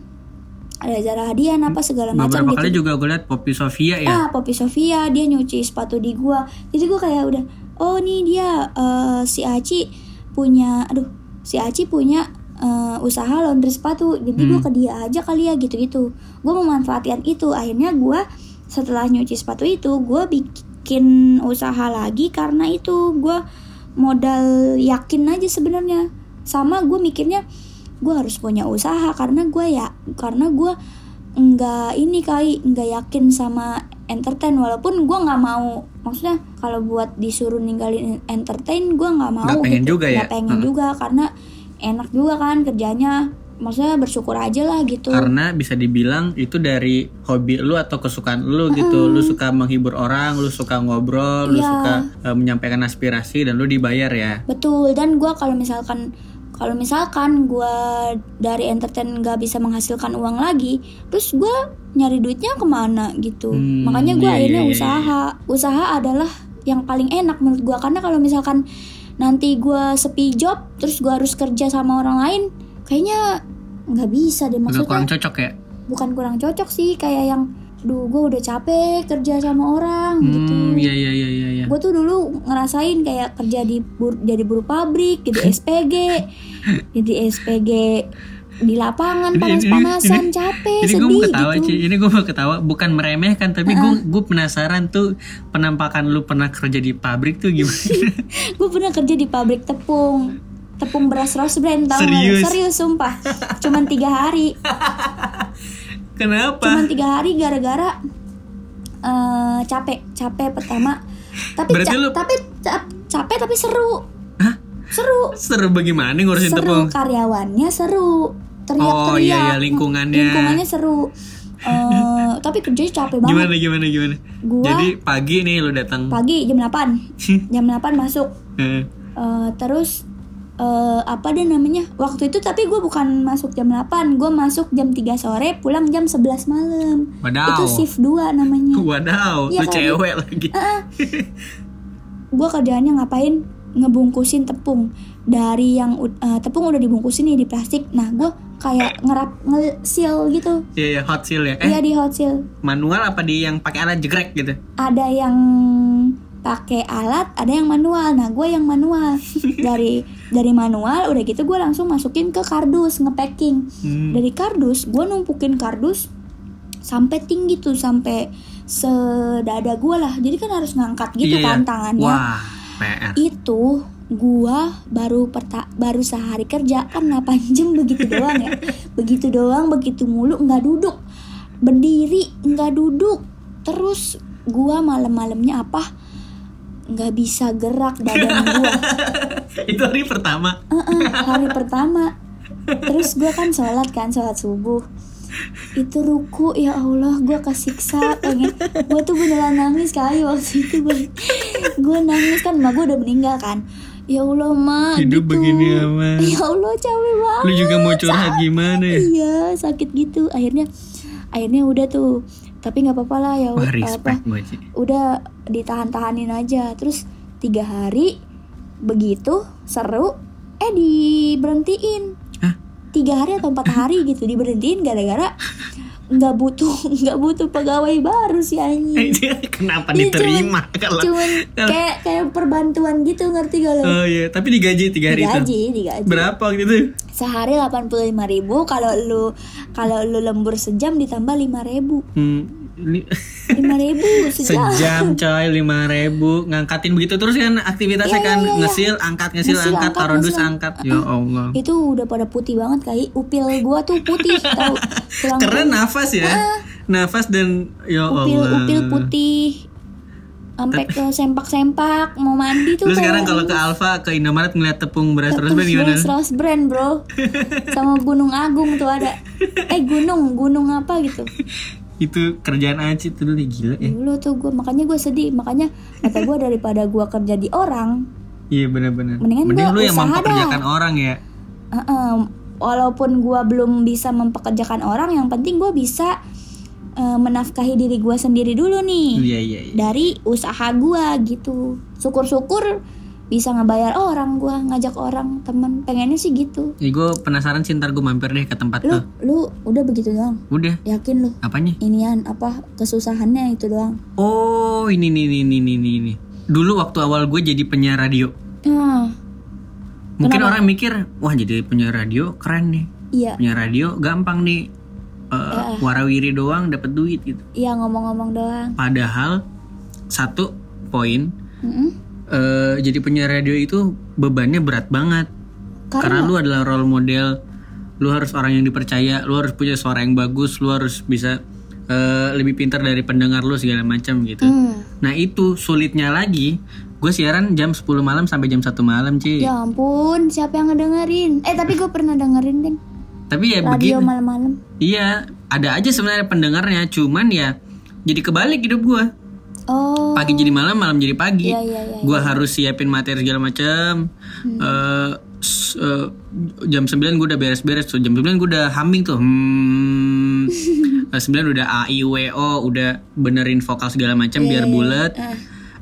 Speaker 1: ada Zara Hadian apa segala macam
Speaker 2: Beberapa
Speaker 1: gitu
Speaker 2: kali juga gue liat Poppy Sofia ya.
Speaker 1: ah Poppy Sofia dia nyuci sepatu di gua jadi gua kayak udah oh nih dia eh, si Aci punya aduh si Aci punya eh, usaha laundry sepatu jadi gua
Speaker 2: Hmm.
Speaker 1: ke dia aja kali ya gitu gitu gua memanfaatkan itu akhirnya gua setelah nyuci sepatu itu gua bikin usaha lagi karena itu gua modal yakin aja sebenarnya sama gue mikirnya gue harus punya usaha karena gue ya karena gue nggak ini kali nggak yakin sama entertain walaupun gue nggak mau maksudnya kalau buat disuruh ninggalin entertain gue nggak mau
Speaker 2: Nggak pengen
Speaker 1: gitu.
Speaker 2: juga ya?
Speaker 1: Nggak pengen
Speaker 2: Heeh.
Speaker 1: juga karena enak juga kan kerjanya maksudnya bersyukur aja lah gitu
Speaker 2: karena bisa dibilang itu dari hobi lu atau kesukaan lu gitu lu suka menghibur orang lu suka ngobrol lu
Speaker 1: Iya.
Speaker 2: suka eh, menyampaikan aspirasi dan lu dibayar ya
Speaker 1: Betul, dan gua kalau misalkan kalau misalkan gua dari entertain nggak bisa menghasilkan uang lagi, terus gua nyari duitnya kemana gitu.
Speaker 2: Hmm,
Speaker 1: Makanya gua
Speaker 2: iya,
Speaker 1: akhirnya
Speaker 2: iya, iya,
Speaker 1: usaha. Usaha adalah yang paling enak menurut gua karena kalau misalkan nanti gua sepi job, terus gua harus kerja sama orang lain, kayaknya nggak bisa deh
Speaker 2: agak kurang
Speaker 1: maksudnya.
Speaker 2: cocok ya
Speaker 1: Bukan kurang cocok sih, kayak yang, duh gua udah capek kerja sama orang gitu
Speaker 2: hmm iya iya iya iya iya.
Speaker 1: gue tuh dulu ngerasain kayak kerja di bur- jadi buruh pabrik jadi SPG jadi SPG di lapangan
Speaker 2: Ini- ini-
Speaker 1: panas-panasan
Speaker 2: ini-
Speaker 1: capek
Speaker 2: Jadi gue
Speaker 1: sedih
Speaker 2: mau ketawa
Speaker 1: gitu
Speaker 2: Ci. ini gue mau ketawa bukan meremehkan tapi gue gue penasaran tuh penampakan lu pernah kerja di pabrik tuh gimana?
Speaker 1: gue pernah kerja di pabrik tepung tepung beras rose brand tau nggak?
Speaker 2: Serius?
Speaker 1: serius sumpah cuman tiga hari
Speaker 2: Kenapa?
Speaker 1: cuman tiga hari gara-gara eh, capek, capek pertama. Tapi
Speaker 2: Berarti
Speaker 1: ca-
Speaker 2: lu-
Speaker 1: tapi ca- capek tapi seru.
Speaker 2: Hah?
Speaker 1: Seru.
Speaker 2: Seru bagaimana ngurusin
Speaker 1: seru
Speaker 2: tepung?
Speaker 1: karyawannya seru. Teriak-teriak.
Speaker 2: Oh, iya, iya, lingkungannya.
Speaker 1: Lingkungannya seru. Eh, tapi kerjanya capek banget.
Speaker 2: Gimana gimana gimana?
Speaker 1: Gua-
Speaker 2: Jadi pagi nih lu datang.
Speaker 1: Pagi jam 8. jam 8 masuk.
Speaker 2: Eh,
Speaker 1: Eh, terus eh, apa deh namanya? Waktu itu tapi gue bukan masuk jam 8, gue masuk jam 3 sore, pulang jam 11 malam.
Speaker 2: Wadaw.
Speaker 1: Itu shift 2 namanya.
Speaker 2: Wadaw,
Speaker 1: Iya
Speaker 2: lu
Speaker 1: kali.
Speaker 2: cewek lagi.
Speaker 1: gue kerjaannya ngapain ngebungkusin tepung dari yang ud- eh, tepung udah dibungkusin nih di plastik nah gue kayak ngerap ngesil gitu
Speaker 2: Iya iya hot seal ya. Eh,
Speaker 1: iya di hot seal
Speaker 2: manual apa di yang pakai alat jegrek gitu?
Speaker 1: ada yang pakai alat ada yang manual nah gue yang manual dari dari manual udah gitu gue langsung masukin ke kardus ngepacking
Speaker 2: Hmm.
Speaker 1: dari kardus gue numpukin kardus sampai tinggi tuh sampai sedada gue lah jadi kan harus ngangkat gitu
Speaker 2: Iya, iya.
Speaker 1: kan tangannya
Speaker 2: Wah, PR.
Speaker 1: itu gua baru perta baru sehari kerja kan 8 jam begitu doang ya begitu doang begitu mulu nggak duduk berdiri nggak duduk terus gua malam-malamnya apa nggak bisa gerak badan gua
Speaker 2: Itu hari pertama.
Speaker 1: Eh, eh, hari pertama terus gua kan sholat kan sholat subuh itu ruku ya Allah gua kesiksa pengen gue tuh beneran nangis kali waktu itu gue gue nangis kan emak gue udah meninggal kan ya Allah ma
Speaker 2: Hidup
Speaker 1: gitu.
Speaker 2: begini amat.
Speaker 1: ya Allah capek banget
Speaker 2: Lu juga mau curhat gimana ya?
Speaker 1: iya sakit gitu akhirnya akhirnya udah tuh tapi nggak apa-apa lah ya
Speaker 2: Wah,
Speaker 1: apa
Speaker 2: respect Moji.
Speaker 1: udah ditahan-tahanin aja terus tiga hari begitu seru eh diberhentiin
Speaker 2: Hah?
Speaker 1: tiga hari atau empat hari gitu diberhentiin gara-gara nggak butuh nggak butuh pegawai baru sih anjing
Speaker 2: Eh, Kenapa
Speaker 1: Iya,
Speaker 2: diterima
Speaker 1: cuman,
Speaker 2: kalau
Speaker 1: cuman kayak kayak perbantuan gitu ngerti gak lo
Speaker 2: Oh iya, tapi digaji tiga hari itu.
Speaker 1: digaji digaji
Speaker 2: Berapa waktu itu?
Speaker 1: sehari 85.000 kalau lu kalau lu lembur sejam ditambah 5.000 ribu
Speaker 2: Hmm, li-
Speaker 1: 5.000 sejam,
Speaker 2: sejam coy lima ribu ngangkatin begitu terus kan
Speaker 1: Iya,
Speaker 2: aktivitasnya
Speaker 1: iya,
Speaker 2: kan
Speaker 1: iya, iya.
Speaker 2: ngesil angkat ngesil
Speaker 1: Ngesil,
Speaker 2: angkat
Speaker 1: angkat,
Speaker 2: taruh dus
Speaker 1: ngesil, Ah. Iya,
Speaker 2: angkat ya Allah
Speaker 1: itu udah pada putih banget kayak upil gua tuh putih tahu tulang
Speaker 2: keren nafas ya nafas dan ya
Speaker 1: Ah. upil
Speaker 2: Allah
Speaker 1: upil putih sampai ke sempak-sempak mau mandi tuh
Speaker 2: Terus sekarang
Speaker 1: kayak-
Speaker 2: kalau ke Alfa ke Indomaret ngeliat tepung beras terus ben gimana?
Speaker 1: Terus Rose brand bro sama Gunung Agung tuh ada eh gunung gunung apa gitu
Speaker 2: Itu kerjaan Aci tuh dulu gila ya.
Speaker 1: dulu tuh gua makanya gua sedih makanya kata gua daripada gua kerja di orang
Speaker 2: Iya benar-benar.
Speaker 1: Mendingan
Speaker 2: Mending
Speaker 1: gua
Speaker 2: lu yang
Speaker 1: usaha
Speaker 2: mempekerjakan orang ya.
Speaker 1: Heeh, walaupun gua belum bisa mempekerjakan orang yang penting gua bisa eh, menafkahi diri gua sendiri dulu nih
Speaker 2: Iya iya iya.
Speaker 1: dari usaha gua gitu syukur-syukur bisa ngebayar orang gua ngajak orang temen pengennya sih gitu
Speaker 2: Ya, gue penasaran sih ntar gue mampir deh ke tempat
Speaker 1: lu
Speaker 2: lo.
Speaker 1: lu udah begitu doang
Speaker 2: Udah,
Speaker 1: yakin lu
Speaker 2: apanya?
Speaker 1: inian apa kesusahannya itu doang
Speaker 2: Oh ini nih nih nih nih nih. nih. Dulu waktu awal gue jadi penyiar radio,
Speaker 1: ah
Speaker 2: mungkin orang mikir wah jadi penyiar radio keren nih,
Speaker 1: iya
Speaker 2: penyiar radio gampang nih, Eh, warawiri doang dapat duit gitu.
Speaker 1: iya ngomong-ngomong doang
Speaker 2: Padahal satu poin
Speaker 1: Mm-mm.
Speaker 2: eh, jadi penyiar radio itu bebannya berat banget karena,
Speaker 1: karena
Speaker 2: lu adalah role model lu harus orang yang dipercaya lu harus punya suara yang bagus lu harus bisa eh, lebih pintar dari pendengar lu segala macam gitu
Speaker 1: Hmm,
Speaker 2: nah itu sulitnya lagi gue siaran jam 10 malam sampai jam 1 malam Ci
Speaker 1: ya ampun siapa yang ngedengerin eh tapi gue pernah dengerin deh
Speaker 2: tapi ya
Speaker 1: radio
Speaker 2: begitu
Speaker 1: malam-malam
Speaker 2: iya ada aja sebenarnya pendengarnya cuman ya jadi kebalik hidup gue
Speaker 1: oh
Speaker 2: pagi jadi malam malam jadi pagi
Speaker 1: Iya, iya, iya, Hmm.
Speaker 2: gue harus siapin materi segala macam Eh, s- eh, jam 9 gue udah beres-beres tuh jam 9 gue udah humming tuh hmm. Eh, 9 udah a i w o udah benerin vokal segala macam biar
Speaker 1: Iya,
Speaker 2: bulat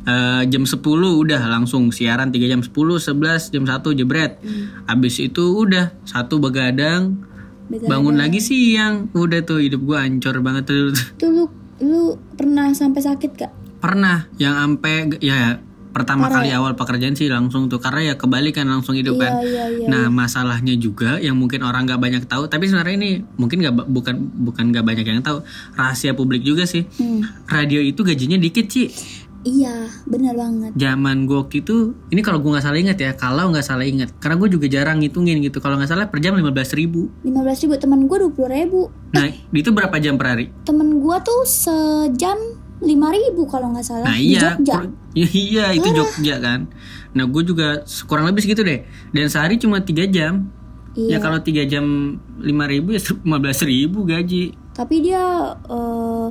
Speaker 2: Eh, jam 10 udah langsung siaran 3 jam 10, 11, jam 1 jebret. Abis itu udah satu begadang,
Speaker 1: Hmm. Begadang.
Speaker 2: bangun lagi siang. Udah tuh hidup gua hancur banget tuh.
Speaker 1: tuh lu lu pernah sampai sakit gak?
Speaker 2: pernah yang ampe ya pertama kali awal pekerjaan sih langsung tuh karena ya kebalikan langsung hidup kan.
Speaker 1: iya,
Speaker 2: nah masalahnya juga yang mungkin orang nggak banyak tahu tapi sebenarnya ini mungkin nggak ba- bukan bukan nggak banyak yang tahu rahasia publik juga sih.
Speaker 1: Hmm.
Speaker 2: Radio itu gajinya dikit sih.
Speaker 1: Iya, benar banget.
Speaker 2: Zaman gue waktu itu ini kalau gue nggak salah ingat ya kalau nggak salah ingat karena gue juga jarang ngitungin gitu kalau nggak salah per jam 15.000 ribu.
Speaker 1: 15 ribu teman gue 20 ribu.
Speaker 2: Nah itu berapa jam per hari?
Speaker 1: Temen gue tuh sejam 15 5.000 kalau nggak salah
Speaker 2: Nah
Speaker 1: di
Speaker 2: iya,
Speaker 1: Jogja.
Speaker 2: kur- iya, iya, itu Jogja kan. Nah gue juga se- kurang lebih segitu deh. Dan sehari cuma tiga jam.
Speaker 1: Iya.
Speaker 2: Ya kalau tiga jam lima ribu ya lima belas ribu gaji.
Speaker 1: Tapi dia eh,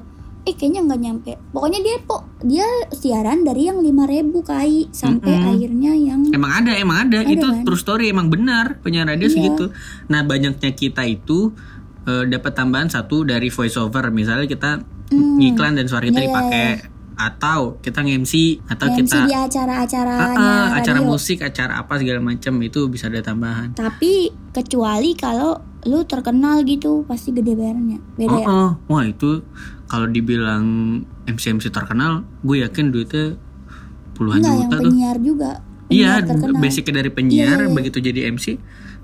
Speaker 1: eh kayaknya nggak nyampe. Pokoknya dia po, dia siaran dari yang 5.000 kai sampai
Speaker 2: Mm-mm.
Speaker 1: akhirnya yang
Speaker 2: Emang ada, emang ada.
Speaker 1: Ada,
Speaker 2: itu
Speaker 1: kan?
Speaker 2: true story, emang benar penyiar radio
Speaker 1: Iya.
Speaker 2: segitu. Nah banyaknya kita itu eh, dapat tambahan satu dari voiceover. Misalnya kita
Speaker 1: Hmm.
Speaker 2: ngiklan dan suara kita
Speaker 1: Iya, iya,
Speaker 2: dipakai, atau kita nge-MC atau
Speaker 1: MC
Speaker 2: kita
Speaker 1: di
Speaker 2: Ah,
Speaker 1: acara-acaranya
Speaker 2: ah, acara
Speaker 1: radio.
Speaker 2: musik, acara apa segala macam itu bisa ada tambahan.
Speaker 1: Tapi kecuali kalau lu terkenal gitu pasti gede bayarnya. Beda ya?
Speaker 2: Oh, oh. Wah itu kalau dibilang MC MC terkenal, gue yakin duitnya puluhan
Speaker 1: Enggak yang
Speaker 2: juta tuh.
Speaker 1: penyiar juga. Penyiar
Speaker 2: Iya,
Speaker 1: terkenal.
Speaker 2: basicnya dari penyiar
Speaker 1: Iya, iya, iya.
Speaker 2: begitu jadi MC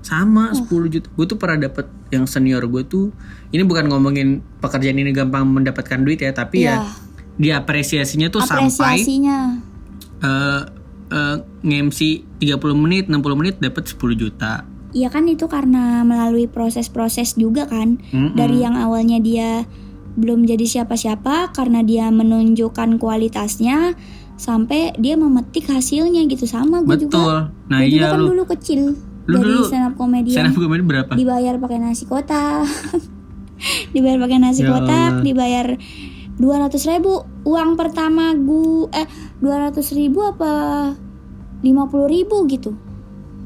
Speaker 2: sama 10 juta. Gue tuh pernah dapet yang senior gue tuh. Ini bukan ngomongin pekerjaan ini gampang mendapatkan duit ya, tapi
Speaker 1: Iya.
Speaker 2: ya diapresiasinya tuh sampai
Speaker 1: Apresiasinya.
Speaker 2: eh eh, nge-MC 30 menit, 60 menit dapat 10 juta.
Speaker 1: Iya kan itu karena melalui proses-proses juga kan.
Speaker 2: Mm-mm.
Speaker 1: Dari yang awalnya dia belum jadi siapa-siapa karena dia menunjukkan kualitasnya sampai dia memetik hasilnya gitu sama gue juga.
Speaker 2: Betul. Nah,
Speaker 1: Gue juga
Speaker 2: iya
Speaker 1: kan
Speaker 2: lu.
Speaker 1: dulu kecil
Speaker 2: Lu
Speaker 1: dari
Speaker 2: dulu
Speaker 1: stand up comedian.
Speaker 2: Stand up comedy berapa?
Speaker 1: dibayar pakai nasi kotak dibayar pakai nasi
Speaker 2: Ya
Speaker 1: kotak
Speaker 2: Allah.
Speaker 1: dibayar dua ratus ribu uang pertama gue eh dua ratus ribu apa lima puluh ribu gitu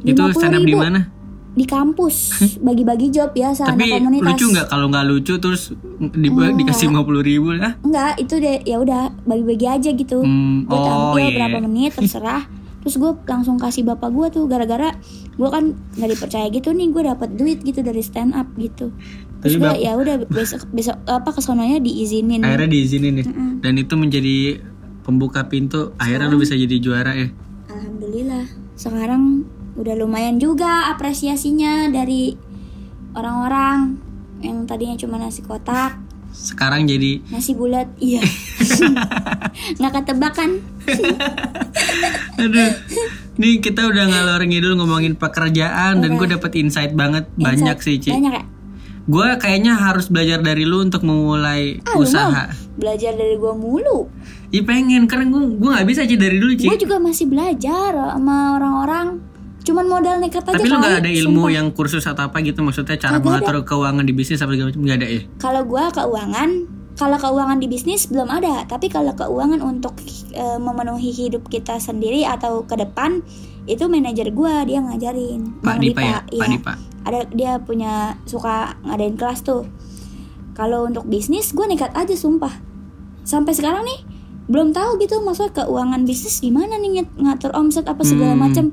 Speaker 2: itu stand up di
Speaker 1: ribu
Speaker 2: mana?
Speaker 1: di kampus bagi-bagi job ya sama
Speaker 2: tapi
Speaker 1: anak komunitas Oh.
Speaker 2: lucu nggak kalau nggak lucu terus di, dikasih lima puluh ribu lah
Speaker 1: Enggak, itu deh ya udah bagi-bagi aja gitu
Speaker 2: Hmm,
Speaker 1: gue
Speaker 2: oh,
Speaker 1: tampil
Speaker 2: iya.
Speaker 1: berapa menit terserah terus gue langsung kasih bapak gue tuh gara-gara gue kan nggak dipercaya gitu nih gue dapat duit gitu dari stand up gitu terus
Speaker 2: Tapi
Speaker 1: gue
Speaker 2: bap-
Speaker 1: ya udah besok besok apa kesononya diizinin
Speaker 2: akhirnya diizinin ya dan itu menjadi pembuka pintu akhirnya lu bisa jadi juara ya
Speaker 1: alhamdulillah sekarang udah lumayan juga apresiasinya dari orang-orang yang tadinya cuma nasi kotak
Speaker 2: sekarang jadi
Speaker 1: nasi bulat iya nggak kan? ketebakan
Speaker 2: aduh ini kita udah ngalor ngidul ngomongin pekerjaan dan gue dapet insight banget banyak sih Ci
Speaker 1: Iya. banyak ya
Speaker 2: gue kayaknya harus belajar dari lu untuk memulai
Speaker 1: Ah, lu
Speaker 2: usaha
Speaker 1: mau belajar dari gue mulu
Speaker 2: Ih pengen karena gue gue nggak bisa Ci dari dulu Ci
Speaker 1: gue juga masih belajar sama orang-orang cuman modal nekat aja
Speaker 2: tapi lu
Speaker 1: kali,
Speaker 2: nggak ada ilmu
Speaker 1: sumpah.
Speaker 2: yang kursus atau apa gitu maksudnya
Speaker 1: Kagak
Speaker 2: cara
Speaker 1: ada.
Speaker 2: mengatur keuangan di bisnis apa segala macam nggak ada ya
Speaker 1: kalau gue keuangan kalau keuangan di bisnis belum ada tapi kalau keuangan untuk eh, memenuhi hidup kita sendiri atau ke depan itu manajer gue dia ngajarin
Speaker 2: Pak
Speaker 1: Bang
Speaker 2: Dipa ya
Speaker 1: iya.
Speaker 2: Pak Dipa
Speaker 1: ada dia punya suka ngadain kelas tuh kalau untuk bisnis gue nekat aja sumpah sampai sekarang nih belum tahu gitu maksudnya keuangan bisnis gimana nih ngat- ngatur omset apa segala
Speaker 2: Hmm,
Speaker 1: macem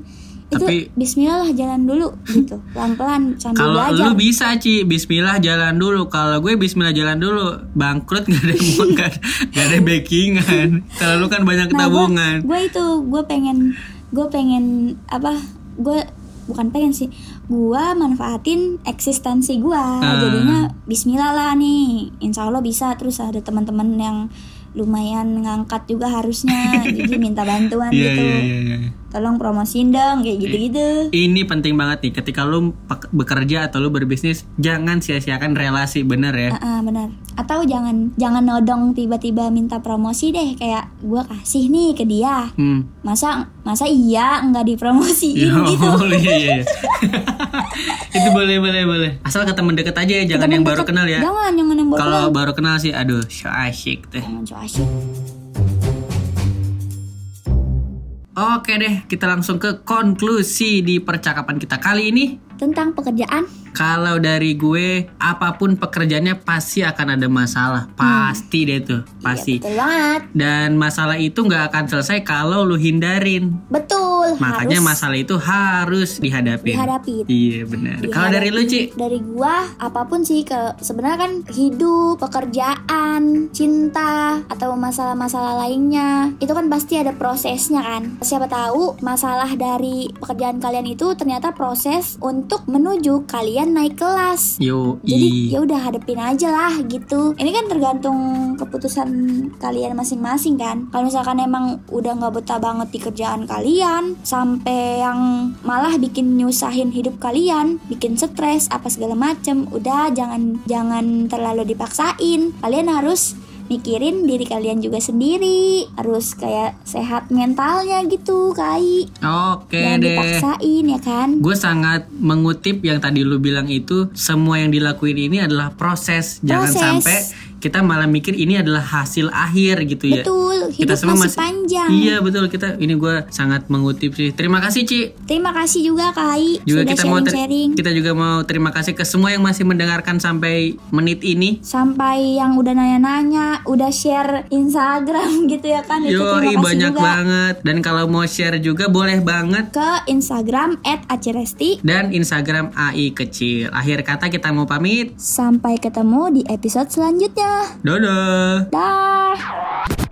Speaker 1: itu
Speaker 2: tapi-
Speaker 1: Bismillah lah jalan dulu gitu pelan pelan sambil
Speaker 2: Kalau
Speaker 1: belajar
Speaker 2: lu bisa Ci, bismillah jalan dulu. Kalau gue bismillah jalan dulu, bangkrut gak ada gak, gak ada backingan. Kalau lu kan banyak tabungan.
Speaker 1: gue Nah, itu gue pengen gue pengen apa gue bukan pengen sih gue manfaatin eksistensi gue
Speaker 2: Ah.
Speaker 1: jadinya Bismillah lah nih Insya Allah bisa terus ada teman-teman yang lumayan ngangkat juga harusnya jadi minta bantuan
Speaker 2: Iya
Speaker 1: gitu
Speaker 2: iya iya. iya.
Speaker 1: tolong promosiin dong kayak gitu-gitu
Speaker 2: Ini penting banget nih ketika lu pek- bekerja atau lu berbisnis, jangan sia-siakan relasi, bener
Speaker 1: Ah,
Speaker 2: ya.
Speaker 1: ah, benar atau jangan jangan nodong tiba-tiba minta promosi deh kayak gue kasih nih ke dia
Speaker 2: Hmm.
Speaker 1: masa masa iya nggak dipromosiin
Speaker 2: Yo,
Speaker 1: gitu
Speaker 2: iya, iya. Itu boleh boleh boleh. Asal ke teman deket aja ya, jangan
Speaker 1: Temen
Speaker 2: yang baru
Speaker 1: deket.
Speaker 2: kenal ya.
Speaker 1: jangan jangan yang baru kenal
Speaker 2: Kalau baru kenal sih, aduh, so asyik teh.
Speaker 1: Jangan so asyik.
Speaker 2: Oke deh, kita langsung ke konklusi di percakapan kita kali ini.
Speaker 1: tentang pekerjaan Iya,
Speaker 2: Kalau dari gue, apapun pekerjaannya pasti akan ada masalah. Pasti deh tuh, pasti.
Speaker 1: Hmm. Iya, betul banget
Speaker 2: Dan masalah itu nggak akan selesai kalau lu hindarin.
Speaker 1: betul
Speaker 2: Makanya
Speaker 1: harus
Speaker 2: masalah itu harus dihadapin.
Speaker 1: dihadapi
Speaker 2: Iya benar. Kalau dari lu, Ci?
Speaker 1: dari gua apapun sih ke sebenarnya kan hidup pekerjaan cinta atau masalah-masalah lainnya itu kan pasti ada prosesnya kan siapa tahu masalah dari pekerjaan kalian itu ternyata proses untuk menuju kalian naik kelas
Speaker 2: Yo,
Speaker 1: jadi ya udah hadepin aja lah gitu ini kan tergantung keputusan kalian masing-masing kan kalau misalkan emang udah nggak betah banget di kerjaan kalian sampai yang malah bikin nyusahin hidup kalian bikin stres apa segala macem udah jangan jangan terlalu dipaksain kalian harus mikirin diri kalian juga sendiri harus kayak sehat mentalnya gitu kai
Speaker 2: Oke
Speaker 1: jangan
Speaker 2: Iya deh.
Speaker 1: dipaksain ya kan
Speaker 2: Gue sangat mengutip yang tadi lu bilang itu semua yang dilakuin ini adalah proses. Jangan
Speaker 1: Proses.
Speaker 2: sampai kita malah mikir ini adalah hasil akhir gitu ya.
Speaker 1: betul hidup masih panjang
Speaker 2: Iya betul kita ini gue sangat mengutip sih. Terima kasih Ci.
Speaker 1: terima kasih juga kai
Speaker 2: Juga
Speaker 1: sudah
Speaker 2: kita mau ter-
Speaker 1: sharing-sharing
Speaker 2: kita juga mau terima kasih ke semua yang masih mendengarkan sampai menit ini.
Speaker 1: sampai yang udah nanya-nanya, udah share Instagram gitu ya kan. Itu
Speaker 2: Yoi
Speaker 1: terima kasih
Speaker 2: banyak
Speaker 1: juga
Speaker 2: banget dan kalau mau share juga boleh banget
Speaker 1: ke Instagram @acresti.
Speaker 2: dan Instagram AI kecil. Akhir kata kita mau pamit.
Speaker 1: Sampai ketemu di episode selanjutnya.
Speaker 2: Dadah.
Speaker 1: Dah.